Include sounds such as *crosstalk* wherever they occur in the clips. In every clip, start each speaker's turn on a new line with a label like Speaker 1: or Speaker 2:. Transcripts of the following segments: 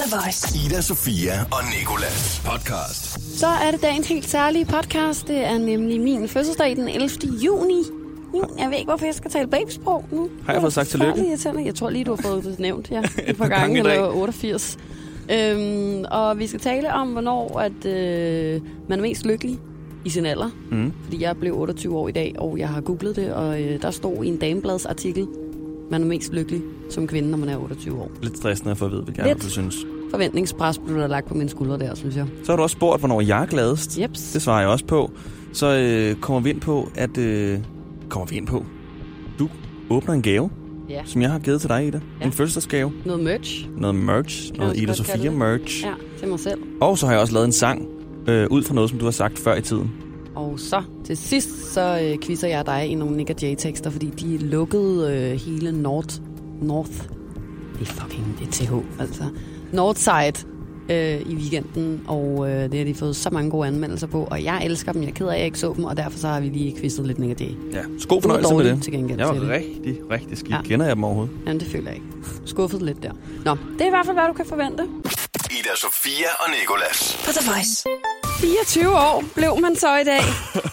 Speaker 1: The Voice.
Speaker 2: Ida Sofia og Nikolas podcast.
Speaker 3: Så er det dagens helt særlige podcast. Det er nemlig min fødselsdag den 11. juni. Juni. Jeg ved ikke, hvorfor jeg skal tale babysprog nu.
Speaker 4: Har jeg fået sagt tillykke?
Speaker 3: Forfærdeligt irriterende. Jeg tror lige, du har fået det nævnt ja,
Speaker 4: *laughs*
Speaker 3: et par
Speaker 4: par gange
Speaker 3: gange,
Speaker 4: i dag.
Speaker 3: eller 88. Øhm, og vi skal tale om, hvornår at, øh, man er mest lykkelig i sin alder.
Speaker 4: Mm.
Speaker 3: Fordi jeg blev 28 år i dag, og jeg har googlet det, og øh, der stod i en dameblads artikel, man er mest lykkelig som kvinde, når man er 28 år.
Speaker 4: Lidt stressende at få at vide, hvad jeg
Speaker 3: Lidt.
Speaker 4: du synes.
Speaker 3: Forventningspres blev der lagt på mine skuldre der, synes jeg.
Speaker 4: Så har du også spurgt, hvornår jeg er gladest.
Speaker 3: Jeps.
Speaker 4: Det svarer jeg også på. Så øh, kommer vi ind på, at... Øh, kommer vi ind på? Du åbner en gave,
Speaker 3: Ja.
Speaker 4: som jeg har givet til dig, Ida.
Speaker 3: Ja.
Speaker 4: En fødselsdagsgave.
Speaker 3: Noget merch.
Speaker 4: Noget merch.
Speaker 3: Kan
Speaker 4: noget
Speaker 3: man
Speaker 4: Ida
Speaker 3: godt kalde
Speaker 4: Sofia
Speaker 3: det.
Speaker 4: merch.
Speaker 3: Ja, til mig selv.
Speaker 4: Og så har jeg også lavet en sang øh, ud fra noget, som du har sagt før i tiden.
Speaker 3: Og så til sidst, så øh, quizzer jeg dig i nogle Nick og Jay-tekster, fordi de lukkede øh, hele North... North... Det er fucking det er TH, altså. Northside øh, i weekenden, og øh, det har de fået så mange gode anmeldelser på, og jeg elsker dem, jeg er ked af, at jeg ikke så dem, og derfor så har vi lige quizzet lidt Nick og Jay.
Speaker 4: Ja, så god fornøjelse med
Speaker 3: dårlig
Speaker 4: det.
Speaker 3: til gengæld
Speaker 4: Jeg
Speaker 3: til det.
Speaker 4: var rigtig, rigtig skidt.
Speaker 3: Ja.
Speaker 4: Ja. Kender jeg dem overhovedet?
Speaker 3: Jamen, det føler jeg ikke. Skuffet lidt der. Nå, det er i hvert fald, hvad du kan forvente.
Speaker 2: Ida Sofia og Nikolas.
Speaker 1: På The Voice.
Speaker 3: 24 år blev man så i dag.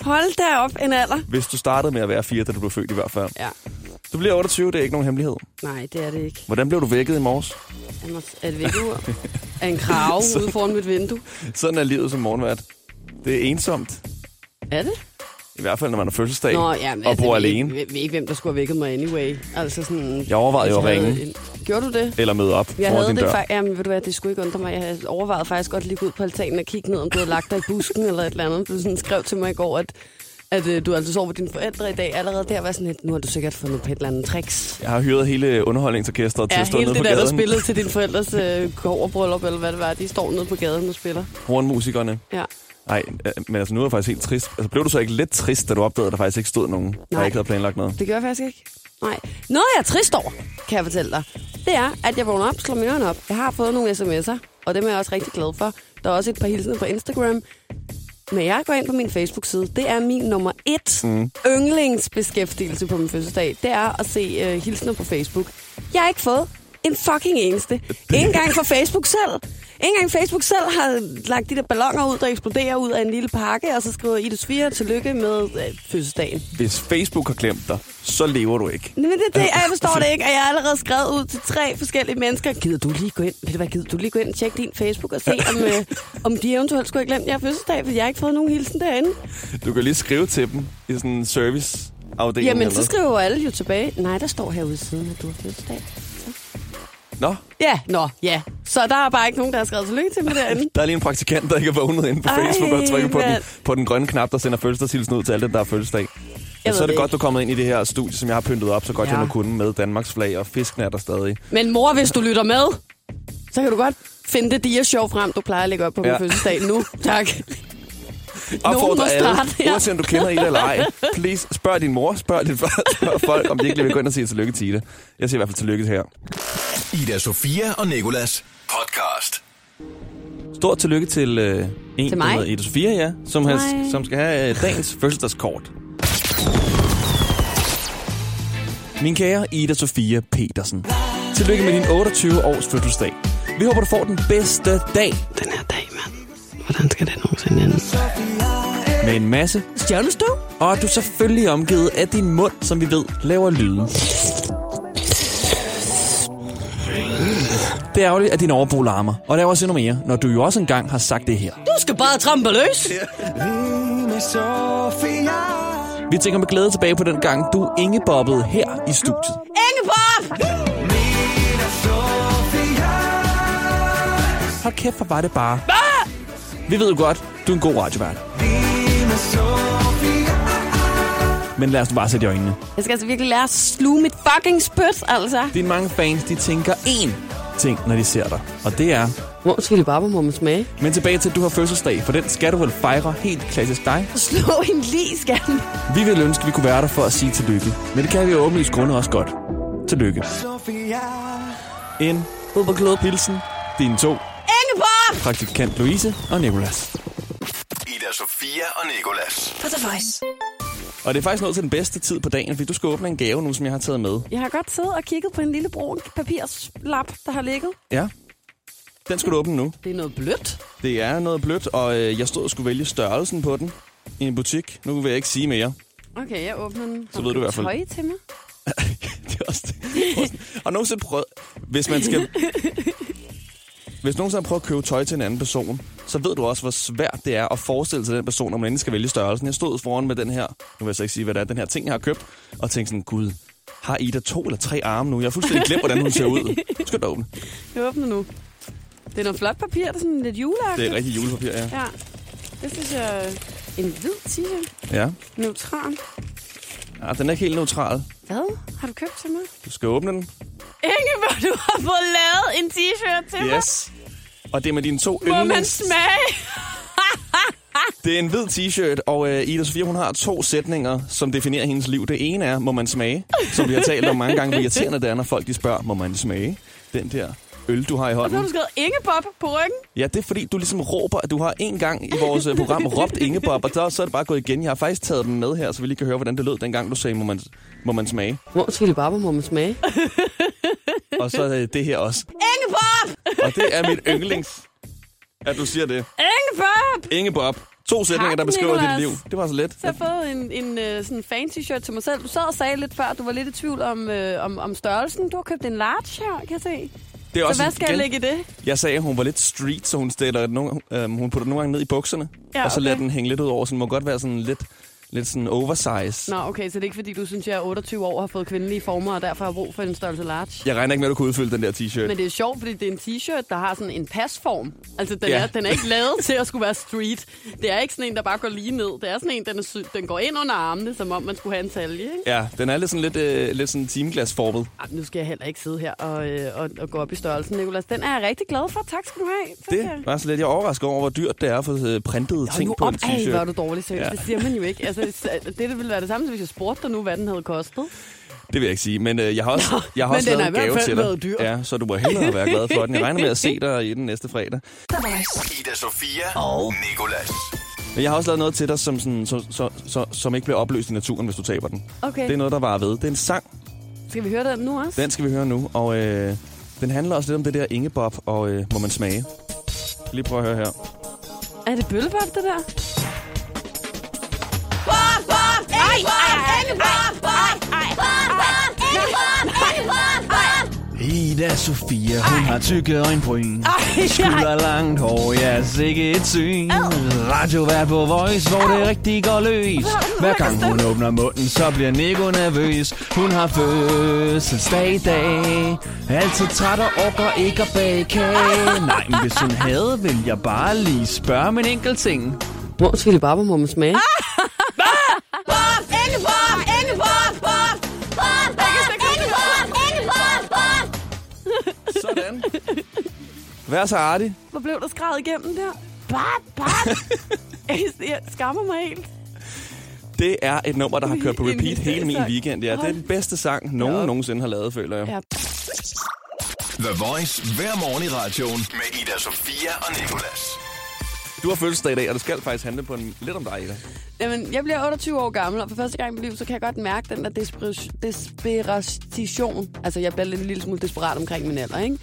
Speaker 3: Hold da op en alder.
Speaker 4: Hvis du startede med at være fire, da du blev født i hvert fald.
Speaker 3: Ja,
Speaker 4: Du bliver 28, det er ikke nogen hemmelighed.
Speaker 3: nej, det er det ikke.
Speaker 4: Hvordan blev du vækket i morges?
Speaker 3: Er det- Er det vinduer? Er en
Speaker 4: *laughs*
Speaker 3: krave ude foran mit vindue?
Speaker 4: Sådan er livet som morgenvært. Det er ensomt.
Speaker 3: Er det?
Speaker 4: I hvert fald, når man har fødselsdag
Speaker 3: Nå, ja, men altså,
Speaker 4: og bor
Speaker 3: jeg ved
Speaker 4: alene.
Speaker 3: Ikke, jeg ved ikke, hvem der skulle have vækket mig anyway. Altså sådan...
Speaker 4: Jeg overvejede jo at
Speaker 3: havde
Speaker 4: ringe.
Speaker 3: en- Gjorde du det?
Speaker 4: Eller møde op
Speaker 3: Jeg
Speaker 4: foran
Speaker 3: havde
Speaker 4: din
Speaker 3: det
Speaker 4: dør.
Speaker 3: faktisk... Jamen, ved du hvad, det skulle ikke undre mig. Jeg havde overvejet faktisk godt lige gå ud på altanen og kigge ned, om du havde lagt dig i busken eller et eller andet. Du sådan skrev til mig i går, at, at øh, du altså sov ved dine forældre i dag. Allerede der var sådan lidt, nu har du sikkert fundet på et eller andet tricks.
Speaker 4: Jeg har hyret hele underholdningsorkestret til
Speaker 3: Ja,
Speaker 4: at stå
Speaker 3: hele
Speaker 4: nede på
Speaker 3: det der, der
Speaker 4: gaden.
Speaker 3: spillede til dine forældres øh, kårbryllup, eller hvad det var, de står nede på gaden og spiller.
Speaker 4: Hornmusikerne.
Speaker 3: Ja.
Speaker 4: Nej, men altså nu er jeg faktisk helt trist. Altså blev du så ikke lidt trist, da du opdagede, at der faktisk ikke stod nogen, der
Speaker 3: Nej.
Speaker 4: ikke havde planlagt noget?
Speaker 3: Det gør jeg faktisk ikke. Nej. Noget, jeg er trist over, kan jeg fortælle dig, det er, at jeg vågner op, slår mine øjne op. Jeg har fået nogle sms'er, og dem er jeg også rigtig glad for. Der er også et par hilsener på Instagram. Men jeg går ind på min Facebook-side. Det er min nummer et mm. yndlingsbeskæftigelse på min fødselsdag. Det er at se øh, hilsener på Facebook. Jeg har ikke fået en fucking eneste. Ikke engang fra Facebook selv. Ikke engang Facebook selv har lagt de der ballonger ud, der eksploderer ud af en lille pakke, og så skriver Idus 4, tillykke med øh, fødselsdagen.
Speaker 4: Hvis Facebook har glemt dig, så lever du ikke.
Speaker 3: Nej, men det, det, jeg forstår det ikke, og jeg har allerede skrevet ud til tre forskellige mennesker. Gider du lige gå ind? Ved du hvad, gider du lige gå ind og tjekke din Facebook og se, om, øh, om de eventuelt skulle have glemt, jeg har fødselsdag, fordi jeg har ikke fået nogen hilsen derinde.
Speaker 4: Du kan lige skrive til dem i sådan en service afdeling.
Speaker 3: Jamen, så skriver jo alle jo tilbage. Nej, der står herude i siden, at du har fødselsdag.
Speaker 4: Nå,
Speaker 3: Ja, nå, ja. Så der er bare ikke nogen, der har skrevet tillykke til mig derinde.
Speaker 4: der er lige en praktikant, der ikke er vågnet inde på
Speaker 3: Ej,
Speaker 4: Facebook og trykker på den,
Speaker 3: mand.
Speaker 4: på den grønne knap, der sender fødselsdagshilsen ud til alle dem, der har fødselsdag.
Speaker 3: Jeg
Speaker 4: Men
Speaker 3: ved
Speaker 4: så er det
Speaker 3: det
Speaker 4: godt,
Speaker 3: ikke.
Speaker 4: du er kommet ind i det her studie, som jeg har pyntet op, så godt
Speaker 3: Ja.
Speaker 4: ja. jeg nu kunne med Danmarks flag, og fisken er der stadig.
Speaker 3: Men mor, hvis du lytter med, så kan du godt finde det dia show frem, du plejer at lægge op på min
Speaker 4: Ja.
Speaker 3: fødselsdag nu. Tak.
Speaker 4: Opfordrer
Speaker 3: må
Speaker 4: alle,
Speaker 3: starte, ja.
Speaker 4: uanset om du kender Ida eller ej, please spørg din mor, spørg dit far, *laughs* spørg folk, om de ikke vil gå ind og sige tillykke til Ida. Jeg siger i hvert fald tillykke til her.
Speaker 2: Ida Sofia og Nikolas podcast.
Speaker 4: Stort tillykke til øh, en,
Speaker 3: Til mig.
Speaker 4: der hedder Ida Sofia, ja, som,
Speaker 3: Til
Speaker 4: has,
Speaker 3: mig.
Speaker 4: som skal have øh, dagens
Speaker 3: *laughs*
Speaker 4: fødselsdagskort. Min kære Ida Sofia Petersen, tillykke med din 28-års fødselsdag. Vi håber, du får den bedste dag
Speaker 3: Den her dag, mand. Hvordan skal det nogensinde ende?
Speaker 4: med en masse
Speaker 3: Stjernestøv?
Speaker 4: Og at du selvfølgelig er omgivet af din mund, som vi ved, laver lyde. Det er ærgerligt, at din overbo larmer. Og der er også endnu mere, når du jo også engang har sagt det her.
Speaker 3: Du skal bare trampe løs.
Speaker 4: Vi tænker med glæde tilbage på den gang, du ingebobbede her i studiet.
Speaker 3: Ingeborg!
Speaker 4: Hold kæft, hvor var det bare. Vi ved jo godt, du er en god radiovært. Men lad os nu bare sætte i øjnene.
Speaker 3: Jeg skal altså virkelig lære at sluge mit fucking spyt, altså.
Speaker 4: Dine mange fans, de tænker én ting, når de ser dig. Og det er,
Speaker 3: Hvor skal det bare må man smage?
Speaker 4: men tilbage til, at du har fødselsdag, for den skal du vel fejre helt klassisk dig.
Speaker 3: Slå en lige, skal den.
Speaker 4: Vi ville ønske, at vi kunne være der for at sige tillykke. Men det kan vi jo åbenlyst grunde også godt. Tillykke. En Uberklod Pilsen, dine to,
Speaker 3: Ingeborg!
Speaker 4: praktikant Louise og Nicolas.
Speaker 2: Ida Sofia og Nikolas.
Speaker 1: På The Voice.
Speaker 4: Og det er faktisk nået til den bedste tid på dagen, fordi du skal åbne en gave nu, som jeg har taget med.
Speaker 3: Jeg har godt siddet og kigget på en lille brun papirslap, der har ligget.
Speaker 4: Ja. Den skal du åbne nu.
Speaker 3: Det er noget blødt.
Speaker 4: Det er noget blødt, og øh, jeg stod og skulle vælge størrelsen på den i en butik. Nu vil jeg ikke sige mere.
Speaker 3: Okay, jeg åbner den.
Speaker 4: Så ved du i hvert fald-
Speaker 3: Tøj til mig.
Speaker 4: det er også det. Prøv at- Har du nogensinde prøvet... Hvis man skal... Hvis nogen har prøvet at købe tøj til en anden person, så ved du også, hvor svært det er at forestille sig den person, når man endelig skal vælge størrelsen. Jeg stod foran med den her, nu vil jeg så ikke sige, hvad det er, den her ting, jeg har købt, og tænkte sådan, gud, har Ida to eller tre arme nu? Jeg har fuldstændig glemt, hvordan hun ser ud. Skal du åbne?
Speaker 3: Jeg åbner nu. Det er noget flot papir, der er sådan lidt juleagtigt.
Speaker 4: Det er rigtig julepapir, ja.
Speaker 3: Ja. Det synes jeg... En hvid t-shirt.
Speaker 4: Ja.
Speaker 3: Neutral.
Speaker 4: ja den er ikke helt neutral.
Speaker 3: Hvad har du købt til mig?
Speaker 4: Du skal åbne den.
Speaker 3: Ingeborg, du har fået lavet en t-shirt til mig.
Speaker 4: Yes. Og det er med dine to
Speaker 3: Må man
Speaker 4: yndlings...
Speaker 3: smage?
Speaker 4: Det er en hvid t-shirt, og øh, Ida Sofia, hun har to sætninger, som definerer hendes liv. Det ene er, må man smage, som vi har talt om mange gange, hvor irriterende det er, når folk de spørger, må man smage den der øl, du har i
Speaker 3: Så har
Speaker 4: hånden.
Speaker 3: du skrevet Ingeborg på ryggen.
Speaker 4: Ja, det er fordi, du ligesom råber, at du har en gang i vores øh, program råbt Ingebob, og der, så er det bare gået igen. Jeg har faktisk taget den med her, så vi lige kan høre, hvordan det lød, dengang du sagde, må man, må man smage.
Speaker 3: Hvor skal bare må man smage?
Speaker 4: Og så øh, det her også.
Speaker 3: Ingeborg!
Speaker 4: Og det er mit yndlings, at du siger det.
Speaker 3: Ingeborg!
Speaker 4: Ingebob. To sætninger, der beskriver dit
Speaker 3: Nicolas.
Speaker 4: liv. Det var så let.
Speaker 3: Så har jeg fået en, en øh, sådan fancy shirt til mig selv. Du sad og sagde lidt før, du var lidt i tvivl om, øh, om, om størrelsen. Du har købt en large her, kan jeg se.
Speaker 4: Det er
Speaker 3: Så hvad skal jeg
Speaker 4: igen-
Speaker 3: lægge i det?
Speaker 4: Jeg sagde, at hun var lidt street, så hun, stiller nogle, øhm, hun putter den nogle gange ned i bukserne,
Speaker 3: Ja,
Speaker 4: og så
Speaker 3: okay.
Speaker 4: lader den hænge lidt ud over, så den må godt være sådan lidt, lidt sådan oversize.
Speaker 3: Nå, okay, så det er ikke fordi, du synes, jeg er 28 år og har fået kvindelige former, og derfor har brug for en størrelse large.
Speaker 4: Jeg regner ikke med, at du kunne udfylde den der t-shirt.
Speaker 3: Men det er sjovt, fordi det er en t-shirt, der har sådan en pasform. Altså, den,
Speaker 4: Ja.
Speaker 3: ja. er, den er ikke lavet til at skulle være street. Det er ikke sådan en, der bare går lige ned. Det er sådan en, den, er sy- den går ind under armene, som om man skulle have en talje. Ikke?
Speaker 4: Ja, den er lidt sådan lidt, øh, lidt sådan timeglasformet.
Speaker 3: Ej, nu skal jeg heller ikke sidde her og, øh, og, og gå op i størrelsen, Nicolas. Den er jeg rigtig glad for. Tak skal du have. Tak skal jeg-
Speaker 4: Det var så lidt. Jeg er overrasket over, hvor dyrt det er at få øh, printet
Speaker 3: Hold
Speaker 4: ting
Speaker 3: nu
Speaker 4: på
Speaker 3: op,
Speaker 4: en
Speaker 3: Ej, hvor er
Speaker 4: t-shirt.
Speaker 3: du dårlig seriøst.
Speaker 4: Ja.
Speaker 3: Ja. Det siger man jo ikke. Altså, det, det ville være det samme, som hvis jeg spurgte dig nu, hvad den havde kostet.
Speaker 4: Det vil jeg ikke sige, men øh, jeg har også, jeg har
Speaker 3: men
Speaker 4: også
Speaker 3: den
Speaker 4: lavet
Speaker 3: har
Speaker 4: en
Speaker 3: i hvert
Speaker 4: gave
Speaker 3: fald
Speaker 4: til dig.
Speaker 3: været dyr.
Speaker 4: Ja, så du må hellere være glad for den. Jeg regner med at
Speaker 3: *laughs*
Speaker 4: se dig i den næste fredag.
Speaker 2: Ida Sofia og Nikolas.
Speaker 4: Men jeg har også lavet noget til dig, som, sådan, så, så, så, som ikke bliver opløst i naturen, hvis du taber den.
Speaker 3: Okay.
Speaker 4: Det er noget, der varer ved. Det er en sang,
Speaker 3: Skal vi høre den nu også?
Speaker 4: Den skal vi høre nu, og øh, den handler også lidt om det der ingebob, og øh, må man smage. Lige prøve at høre her.
Speaker 3: Er det bøllebop, det der?
Speaker 1: Ida Sofia, hun har tykke øjenbryn
Speaker 3: *laughs*
Speaker 1: Skulder langt hår, ja, sikke et syn Radiovært på Voice, hvor det rigtig går løs Hver gang hun åbner munden, så bliver Nico nervøs Hun har fødselsdag i dag Altid træt og orker ikke at bage kage Nej, men hvis hun havde, ville jeg bare lige spørge om en enkelt ting
Speaker 3: Hvor skal bare må man smage?
Speaker 4: Sådan. Vær så artig.
Speaker 3: Hvor blev der skrevet igennem der? Bop, *laughs* bop. jeg skammer mig helt.
Speaker 4: Det er et nummer, der har
Speaker 3: *laughs*
Speaker 4: kørt på
Speaker 3: Min- min
Speaker 4: repeat hele min
Speaker 3: sang.
Speaker 4: weekend. Ja, det er den bedste sang, nogen
Speaker 3: Ja.
Speaker 4: nogensinde har lavet, føler jeg.
Speaker 3: Ja.
Speaker 2: The Voice hver morgen i radioen med Ida Sofia og Nikolas.
Speaker 4: Du har fødselsdag i dag, og det skal faktisk handle på en, lidt om dig, Ida.
Speaker 3: Jamen, jeg bliver 28 år gammel, og for første gang i mit liv, så kan jeg godt mærke den der desperation. desperation. Altså, jeg bliver lidt en lille smule desperat omkring min alder, ikke?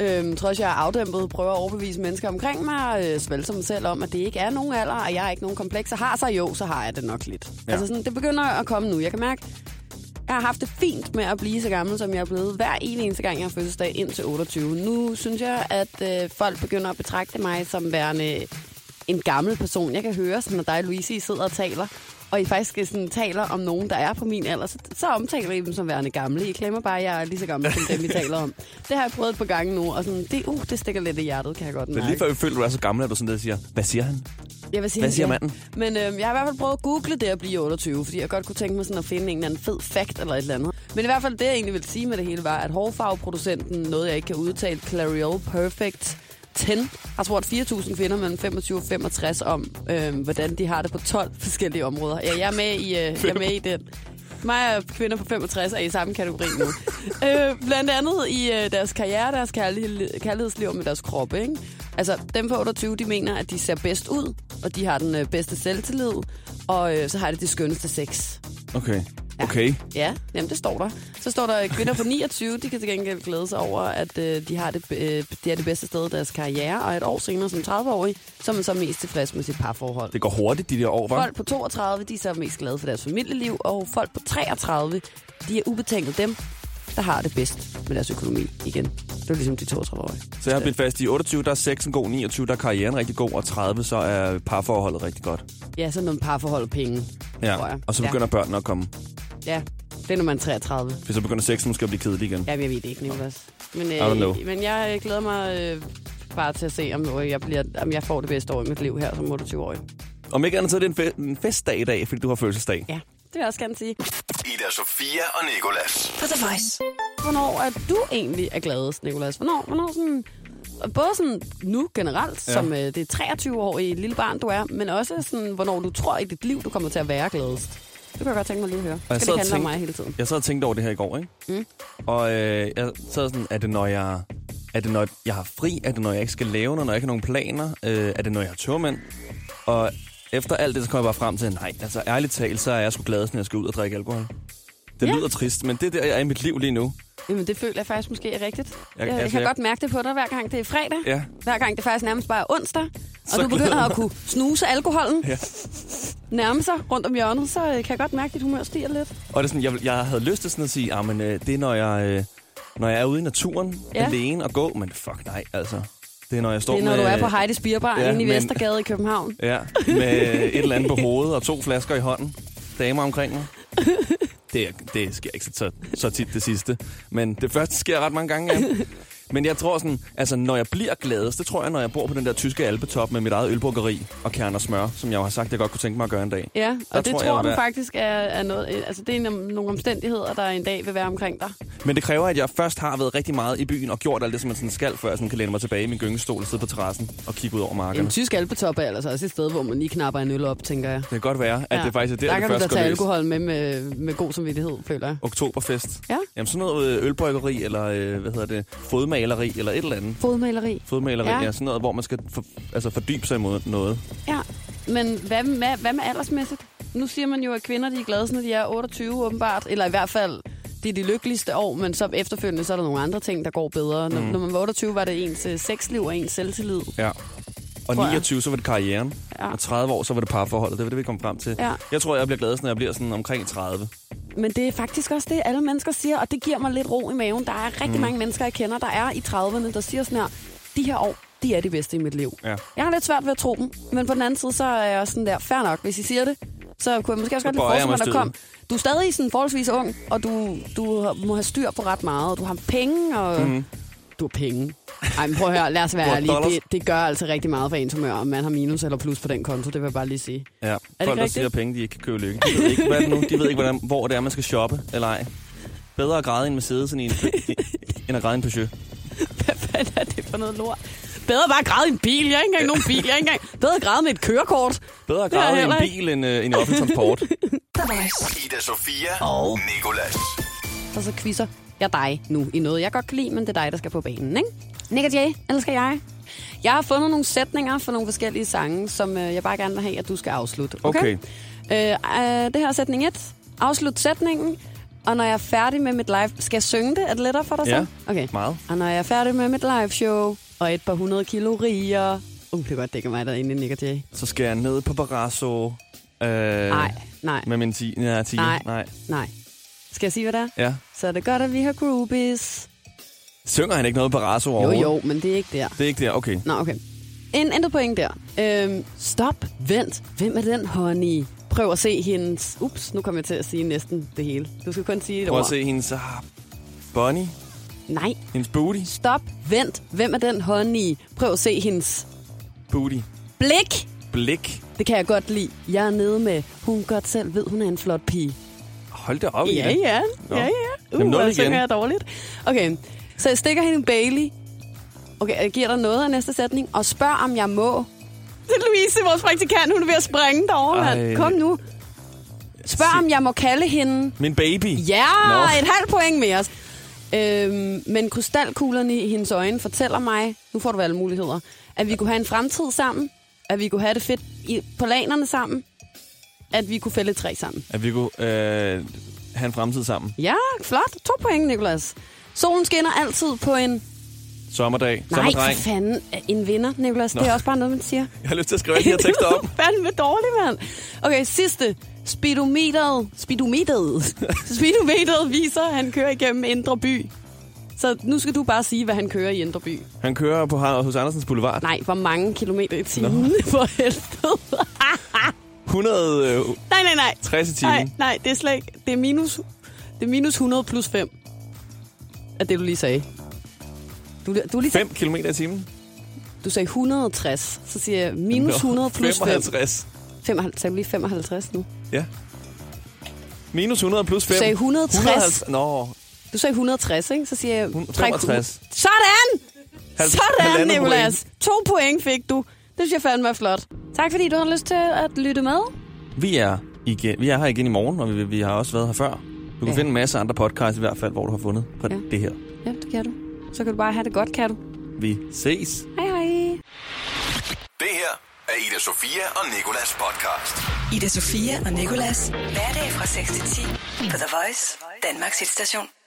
Speaker 3: Øhm, trods jeg er afdæmpet, prøver at overbevise mennesker omkring mig, og øh, svælser mig selv om, at det ikke er nogen alder, og jeg er ikke nogen komplekser. Har så jo, så har jeg det nok lidt.
Speaker 4: Ja.
Speaker 3: Ja. Altså, sådan, det begynder at komme nu. Jeg kan mærke, jeg har haft det fint med at blive så gammel, som jeg er blevet hver en eneste gang, jeg har fødselsdag indtil 28. Nu synes jeg, at øh, folk begynder at betragte mig som værende en gammel person. Jeg kan høre, sådan, når dig, Louise, I sidder og taler, og I faktisk sådan, taler om nogen, der er på min alder, så, så omtaler I dem som værende gamle. I klemmer bare, at jeg er lige så gammel som dem, I taler
Speaker 4: *laughs*
Speaker 3: om. Det har jeg prøvet et par gange nu, og sådan, det, uh, det stikker lidt i hjertet, kan jeg godt
Speaker 4: Men
Speaker 3: mærke.
Speaker 4: lige før vi føler, du er så gammel, at du sådan der siger, hvad siger han?
Speaker 3: Jeg vil sige,
Speaker 4: Hvad siger
Speaker 3: ja.
Speaker 4: manden?
Speaker 3: Men øhm, jeg har i hvert fald prøvet at google det at blive 28, fordi jeg godt kunne tænke mig sådan at finde en eller anden fed fact eller et eller andet. Men i hvert fald det, jeg egentlig ville sige med det hele, var, at hårfarveproducenten, noget jeg ikke kan udtale, Clariol Perfect 10, har spurgt 4.000 kvinder mellem 25 og 65 om, øhm, hvordan de har det på 12 forskellige områder. Ja, jeg er med i, øh, jeg er med i den. Mig og kvinder på 65 er i samme kategori nu. øh, blandt andet i øh, deres karriere, deres kærlighed, kærlighedsliv med deres krop. Ikke? Altså, dem på 28, de mener, at de ser bedst ud, og de har den øh, bedste selvtillid, og øh, så har de det skønneste sex.
Speaker 4: Okay. Okay.
Speaker 3: Ja, jamen det står der. Så står der, at kvinder på 29, de kan til gengæld glæde sig over, at øh, de, har det, øh, det er det bedste sted i deres karriere, og et år senere som 30-årig, så er man så mest tilfreds med sit parforhold.
Speaker 4: Det går hurtigt, de der år, var.
Speaker 3: Folk på 32, de er så mest glade for deres familieliv, og folk på 33, de er ubetinget dem, der har det bedst med deres økonomi igen. Det er ligesom de 32-årige.
Speaker 4: Så jeg har blivet fast i 28, der er sexen god, 29, der er karrieren rigtig god, og 30, så er parforholdet rigtig godt.
Speaker 3: Ja, sådan nogle parforhold og penge, tror jeg.
Speaker 4: Og så begynder
Speaker 3: ja.
Speaker 4: børnene at komme.
Speaker 3: Ja, det er når man er 33.
Speaker 4: For så begynder sexen måske at blive kedelig igen.
Speaker 3: Jamen, jeg ved det ikke, Niklas. Men,
Speaker 4: don't know.
Speaker 3: men jeg øh, glæder mig øh, bare til at se, om øh, jeg, bliver, om jeg får det bedste år i mit liv her som 28-årig.
Speaker 4: Om ikke andet, så er det en, fe- en festdag i dag, fordi du har fødselsdag.
Speaker 3: Ja, det vil jeg også gerne sige.
Speaker 2: Ida Sofia og Nikolas.
Speaker 5: På The Voice.
Speaker 3: Hvornår er du egentlig er gladest, Nikolas? Hvornår, hvornår sådan... Både sådan nu generelt, ja. som øh, det 23-årige lille barn, du er, men også sådan, hvornår du tror i dit liv, du kommer til at være gladest. Det kunne jeg godt tænke mig lige at høre.
Speaker 4: Og jeg
Speaker 3: Skal det
Speaker 4: sad
Speaker 3: handle
Speaker 4: og
Speaker 3: om
Speaker 4: tænkte-
Speaker 3: mig hele tiden?
Speaker 4: Jeg sad og tænkte over det her i går, ikke? Mm. Og øh, jeg sad sådan, er det når jeg... Er det når jeg har fri? Er det når jeg ikke skal lave noget? Når jeg ikke har nogen planer? Øh, er det når jeg har tørmænd? Og efter alt det, så kom jeg bare frem til, nej, altså ærligt talt, så er jeg sgu glad, når jeg skal ud og drikke alkohol. Det
Speaker 3: Ja.
Speaker 4: lyder trist, men det er der, jeg er i mit liv lige nu.
Speaker 3: Jamen, det føler jeg faktisk måske er rigtigt. Jeg, jeg, jeg
Speaker 4: altså,
Speaker 3: kan
Speaker 4: jeg-
Speaker 3: godt mærke det på dig, hver gang det er fredag.
Speaker 4: Ja.
Speaker 3: Hver gang det faktisk nærmest bare er onsdag. Og du
Speaker 4: Så glæder
Speaker 3: begynder
Speaker 4: jeg
Speaker 3: at
Speaker 4: mig.
Speaker 3: kunne snuse alkoholen.
Speaker 4: Ja.
Speaker 3: Nærme sig rundt om hjørnet, så øh, kan jeg godt mærke, at dit humør stiger lidt.
Speaker 4: Og det er sådan, jeg, jeg havde lyst til sådan at sige, ah, men, øh, det er, når jeg, øh, når jeg er ude i naturen
Speaker 3: Ja.
Speaker 4: ja. alene og gå, men fuck nej, altså. Det er, når jeg står
Speaker 3: Det er, når
Speaker 4: med,
Speaker 3: du er på Heidi's Bierbar ja,
Speaker 4: ja,
Speaker 3: inde i
Speaker 4: men-
Speaker 3: Vestergade i København.
Speaker 4: Ja, med et eller andet på hovedet og to flasker i hånden. Damer omkring mig. Det, er- det sker ikke så, så tit det sidste. Men det første sker ret mange gange. Ja. Men jeg tror sådan, altså når jeg bliver gladest, det tror jeg, når jeg bor på den der tyske alpetop med mit eget ølbruggeri og kern og smør, som jeg jo har sagt, jeg godt kunne tænke mig at gøre en dag.
Speaker 3: Ja, og
Speaker 4: Der
Speaker 3: det tror,
Speaker 4: tror jeg,
Speaker 3: tror
Speaker 4: jeg
Speaker 3: du
Speaker 4: vil-
Speaker 3: faktisk er, er noget... Altså, det er en- nogle omstændigheder, der en dag vil være omkring dig.
Speaker 4: Men det kræver, at jeg først har været rigtig meget i byen og gjort alt det, som man sådan skal, før jeg sådan kan læne mig tilbage i min gyngestol og sidde på terrassen og kigge ud over markerne.
Speaker 3: En tysk alpetop er altså også et sted, hvor man lige knapper en øl op, tænker jeg.
Speaker 4: Det kan godt være, at det faktisk er der,
Speaker 3: der
Speaker 4: det
Speaker 3: kan du da
Speaker 4: først går
Speaker 3: tage
Speaker 4: løs.
Speaker 3: alkohol med, med med god samvittighed, føler jeg.
Speaker 4: Oktoberfest.
Speaker 3: Ja.
Speaker 4: Jamen sådan noget øh, ølbryggeri, eller øh, hvad hedder det, fodmaleri, eller et eller andet.
Speaker 3: Fodmaleri.
Speaker 4: Fodmaleri,
Speaker 3: Ja.
Speaker 4: ja. ja sådan noget, hvor man skal for, altså fordybe sig imod noget.
Speaker 3: Ja, men hvad, hvad, hvad med aldersmæssigt? Nu siger man jo, at kvinder de er glade, når de er 28 åbenbart, eller i hvert fald, det er de lykkeligste år, men så efterfølgende så er der nogle andre ting, der går bedre.
Speaker 4: Mm.
Speaker 3: Når, når man var 28, var det ens øh, sexliv og ens selvtillid.
Speaker 4: Ja. Og
Speaker 3: Tror jeg.
Speaker 4: 29, så var det karrieren.
Speaker 3: Ja.
Speaker 4: Ja. Og 30 år, så var det parforholdet. Det var det, vi kom frem til.
Speaker 3: Ja.
Speaker 4: Jeg tror, jeg bliver gladest, når jeg bliver sådan omkring 30.
Speaker 3: Men det er faktisk også det, alle mennesker siger, og det giver mig lidt ro i maven. Der er rigtig mm. mange mennesker, jeg kender, der er i 30'erne, der siger sådan her, de her år, de er de bedste i mit liv.
Speaker 4: Ja.
Speaker 3: Jeg har lidt svært ved at tro dem, men på den anden side, så er jeg også sådan der, fair nok, hvis I siger det, så kunne jeg måske også godt lige
Speaker 4: bøjer jeg
Speaker 3: forestille mig,
Speaker 4: mig
Speaker 3: der kom. Du er stadig sådan forholdsvis ung, og du, du har- må have styr på ret meget. Du har penge, og mm. du har penge. Ej, men prøv at høre, lad os
Speaker 4: Mhm. Du
Speaker 3: være
Speaker 4: har
Speaker 3: ærlige.
Speaker 4: dollars.
Speaker 3: Det, det gør altså rigtig meget for ens humør, om man har minus eller plus på den konto, det vil jeg bare lige sige.
Speaker 4: Ja.
Speaker 3: det
Speaker 4: Folk, der
Speaker 3: rigtigt?
Speaker 4: siger at penge, de ikke kan købe lykke. De ved ikke, hvad er det nu? De ved ikke hvordan, hvor det er, man skal shoppe, eller ej. Bedre at græde i en Mercedes, end, i en, end at græde i en Peugeot.
Speaker 3: Hvad fanden er det for noget lort? Bedre bare at græde i en bil. Jeg har ikke engang nogen bil. Jeg har ikke engang... Bedre at græde med et kørekort.
Speaker 4: Bedre at
Speaker 3: Det er
Speaker 4: græde i en
Speaker 3: heller ikke.
Speaker 4: bil, end, øh, end i offentlig transport.
Speaker 5: The Voice.
Speaker 2: Ida Sofia og Nikolas.
Speaker 3: Og så quizzer jeg dig nu i noget, jeg godt kan lide, men det er dig, der skal på banen, ikke? Nick og Jay, eller skal jeg? Jeg har fundet nogle sætninger for nogle forskellige sange, som øh, jeg bare gerne vil have, at du skal afslutte. Okay. okay. Øh, øh, det her er sætning 1. Afslut sætningen. Og når jeg er færdig med mit live... Skal jeg synge det? Er det lettere for dig
Speaker 4: Ja,
Speaker 3: så? Okay.
Speaker 4: meget.
Speaker 3: Og når jeg er færdig med mit live show og et par hundrede kilo riger... Uh, det er godt, det kan mig derinde, Nick og Jay.
Speaker 4: Så skal jeg ned på Barrasso. Øh,
Speaker 3: Nej, nej.
Speaker 4: Med min 10. Ja, 10.
Speaker 3: Nej.
Speaker 4: Nej.
Speaker 3: Nej. Skal jeg sige, hvad det er?
Speaker 4: Ja.
Speaker 3: Så er det godt, at vi har groupies.
Speaker 4: Synger han ikke noget Barrasso
Speaker 3: Jo,
Speaker 4: overhovedet?
Speaker 3: jo, men det er ikke der.
Speaker 4: Det er ikke der, okay.
Speaker 3: Nå, okay. En intet point der. Øhm, stop, vent. Hvem er den, honey? Prøv at se hendes... Ups, nu kommer jeg til at sige næsten det hele. Du skal kun sige et
Speaker 4: Prøv
Speaker 3: ord.
Speaker 4: at se hendes uh, bunny,
Speaker 3: Nej.
Speaker 4: hendes booty.
Speaker 3: Stop, vent. Hvem er den, honey? Prøv at se hendes
Speaker 4: Booty.
Speaker 3: blik.
Speaker 4: Blik.
Speaker 3: Det kan jeg godt lide. Jeg er nede med, hun godt selv ved, hun er en flot pige.
Speaker 4: Hold da op,
Speaker 3: Ja,
Speaker 4: Ida.
Speaker 3: ja.
Speaker 4: Nå.
Speaker 3: Ja, ja. Uh,
Speaker 4: Jamen, nul
Speaker 3: Jamen,
Speaker 4: igen.
Speaker 3: synger jeg dårligt. Okay, så jeg stikker hende en Bailey. Okay, jeg giver dig noget af næste sætning. Og spørg, om jeg må. Det er Louise, vores praktikant. Hun er ved at springe derovre, mand.
Speaker 4: Ej.
Speaker 3: Kom nu. Spørg, om jeg må kalde hende.
Speaker 4: Min baby.
Speaker 3: Ja,
Speaker 4: Nå.
Speaker 3: et halvt point mere. Øhm, men krystalkuglerne i hendes øjne fortæller mig, nu får du alle muligheder, at vi kunne have en fremtid sammen, at vi kunne have det fedt i, på lanerne sammen, at vi kunne fælde et træ sammen.
Speaker 4: At vi kunne... Øh, have en fremtid sammen.
Speaker 3: Ja, flot. To point, Nicolas. Solen skinner altid på en...
Speaker 4: Sommerdag,
Speaker 3: Nej,
Speaker 4: sommerdreng.
Speaker 3: for fanden. En vinder, Nicolas. Nå. Det
Speaker 4: Nå.
Speaker 3: er også bare noget, man siger.
Speaker 4: Jeg har lyst til at skrive alle de her tekster
Speaker 3: *laughs*
Speaker 4: op.
Speaker 3: fandme dårlig, mand. Okay, sidste. Speedometeret.
Speaker 4: *laughs*
Speaker 3: Speedometeret. Speedometeret viser, at han kører igennem Indre By. Så nu skal du bare sige, hvad han kører i Indre By.
Speaker 4: Han kører på Harald hos Andersens Boulevard.
Speaker 3: Nej, hvor mange kilometer i timen. *laughs* For helvede.
Speaker 4: 160
Speaker 3: nej, nej, nej.
Speaker 4: i
Speaker 3: Nej,
Speaker 4: timen.
Speaker 3: nej, det er slet ikke. Det er minus, det er minus 100 plus 5. Er det, du lige sagde. Du, du, lige sagde,
Speaker 4: 5 km i timen.
Speaker 3: du sagde 160. Så siger jeg minus 100 plus 5.
Speaker 4: 55.
Speaker 3: 55. Sagde du lige 55 nu?
Speaker 4: Ja. Minus 100 plus 5.
Speaker 3: sagde 160.
Speaker 4: 150. Nå,
Speaker 3: Du sagde 160, ikke? Så siger jeg...
Speaker 4: Hun-
Speaker 3: træk
Speaker 4: 65.
Speaker 3: hu- Sådan!
Speaker 4: Halv-
Speaker 3: Sådan,
Speaker 4: halvandet
Speaker 3: Nicolas. To point fik du. Det synes jeg fandme er flot. Tak fordi du har lyst til at lytte med.
Speaker 4: Vi er, igen, vi er her igen i morgen, og vi, vi har også været her før. Du kan
Speaker 3: Ja.
Speaker 4: ja. finde en masse andre podcasts i hvert fald, hvor du har fundet på
Speaker 3: Ja.
Speaker 4: ja. det her.
Speaker 3: Ja, det kan du. Så kan du bare have det godt, kan du.
Speaker 4: Vi ses.
Speaker 3: Hej hej.
Speaker 2: Det her er Ida Sofia og Nikolas podcast.
Speaker 5: Ida Sofia og Nikolas. Hverdag fra 6 til 10 på The Voice, Danmarks hitstation.